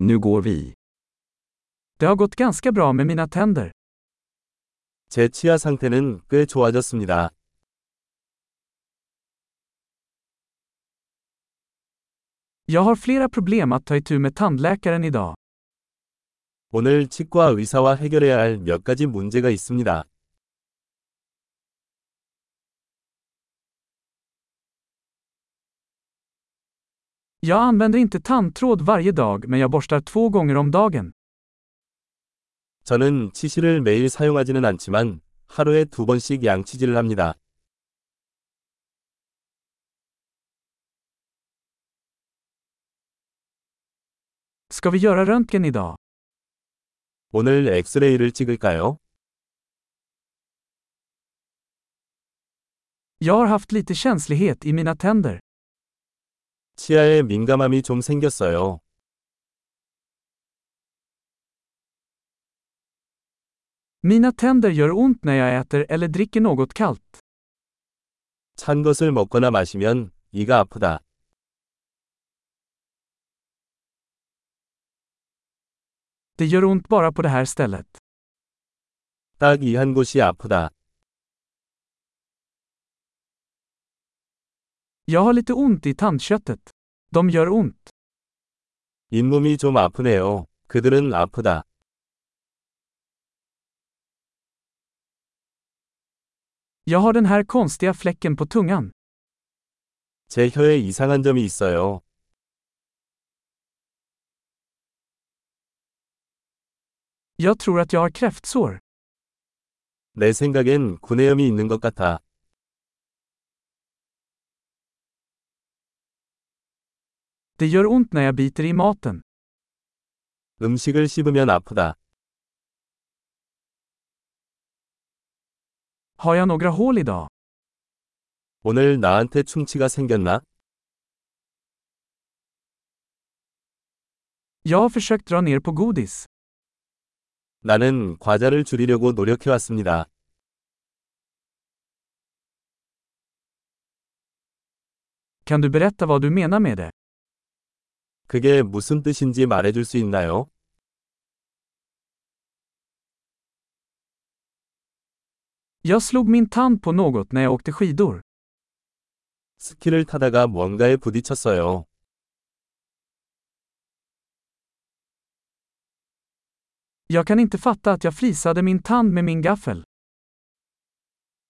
Nu går vi. Det har gått ganska bra med mina tänder. 제 치아 상태는 꽤 좋아졌습니다. Jag har flera problem att ta itu med tandläkaren idag. 오늘 치과 의사와 해결해야 할 몇 가지 문제가 있습니다. Jag använder inte tandtråd varje dag men jag borstar två gånger om dagen. 저는 치실을 매일 사용하지는 않지만 하루에 두 번씩 양치질을 합니다. Ska vi göra röntgen idag? 오늘 엑스레이를 찍을까요? Jag har haft lite känslighet i mina tänder. 치아에 민감함이 좀 생겼어요. Mina tänder gör ont när jag äter eller dricker något kallt. 찬 것을 먹거나 마시면 이가 아프다. Det gör ont bara på det här stället. 딱 이 한 곳이 아프다. Jag har lite ont i tandköttet. De gör ont. 잇몸이 좀 아프네요. 그들은 아프다. Jag har den här konstiga fläcken på tungan. 제 혀에 이상한 점이 있어요. Jag tror att jag har kräftsår. 내 생각엔 구내염이 있는 것 같아. Det gör ont när jag biter i maten. 음식을 씹으면 아프다. Har jag några hål idag? 오늘 나한테 충치가 생겼나? Jag har försökt dra ner på godis. 나는 과자를 줄이려고 노력해왔습니다. Kan du berätta vad du menar med det? 그게 무슨 뜻인지 말해줄 수 있나요? Jag slog min tand på något när jag åkte skidor. 스키를 타다가 뭔가에 부딪혔어요. Jag kan inte fatta att jag flisade min tand med min gaffel.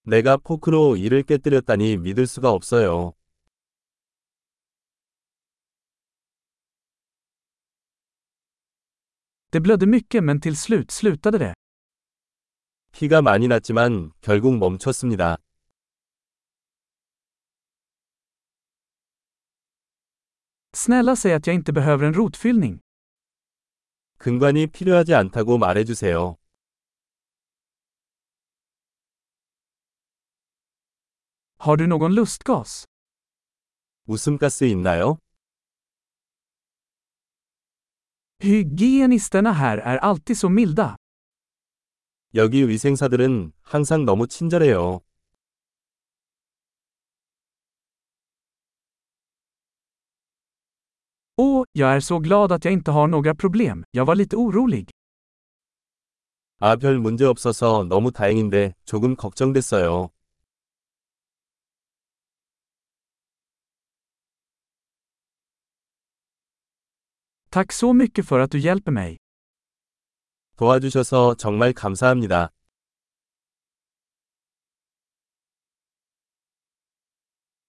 내가 포크로 이를 깨뜨렸다니 믿을 수가 없어요. Det blödde mycket men till slut slutade det. 피가 많이 났지만 결국 멈췄습니다. Snälla säg att jag inte behöver en rotfyllning. 근관이 필요하지 않다고 말해주세요. Har du någon lustgas? 웃음가스 있나요? Hygienisterna här är alltid så milda. 여기 위생사들은 항상 너무 친절해요. Åh, jag är så glad att jag inte har några problem. Jag var lite orolig. 아, 별 문제 없어서 너무 다행인데 조금 걱정됐어요. Tack så mycket för att du hjälper mig. 도와주셔서 정말 감사합니다.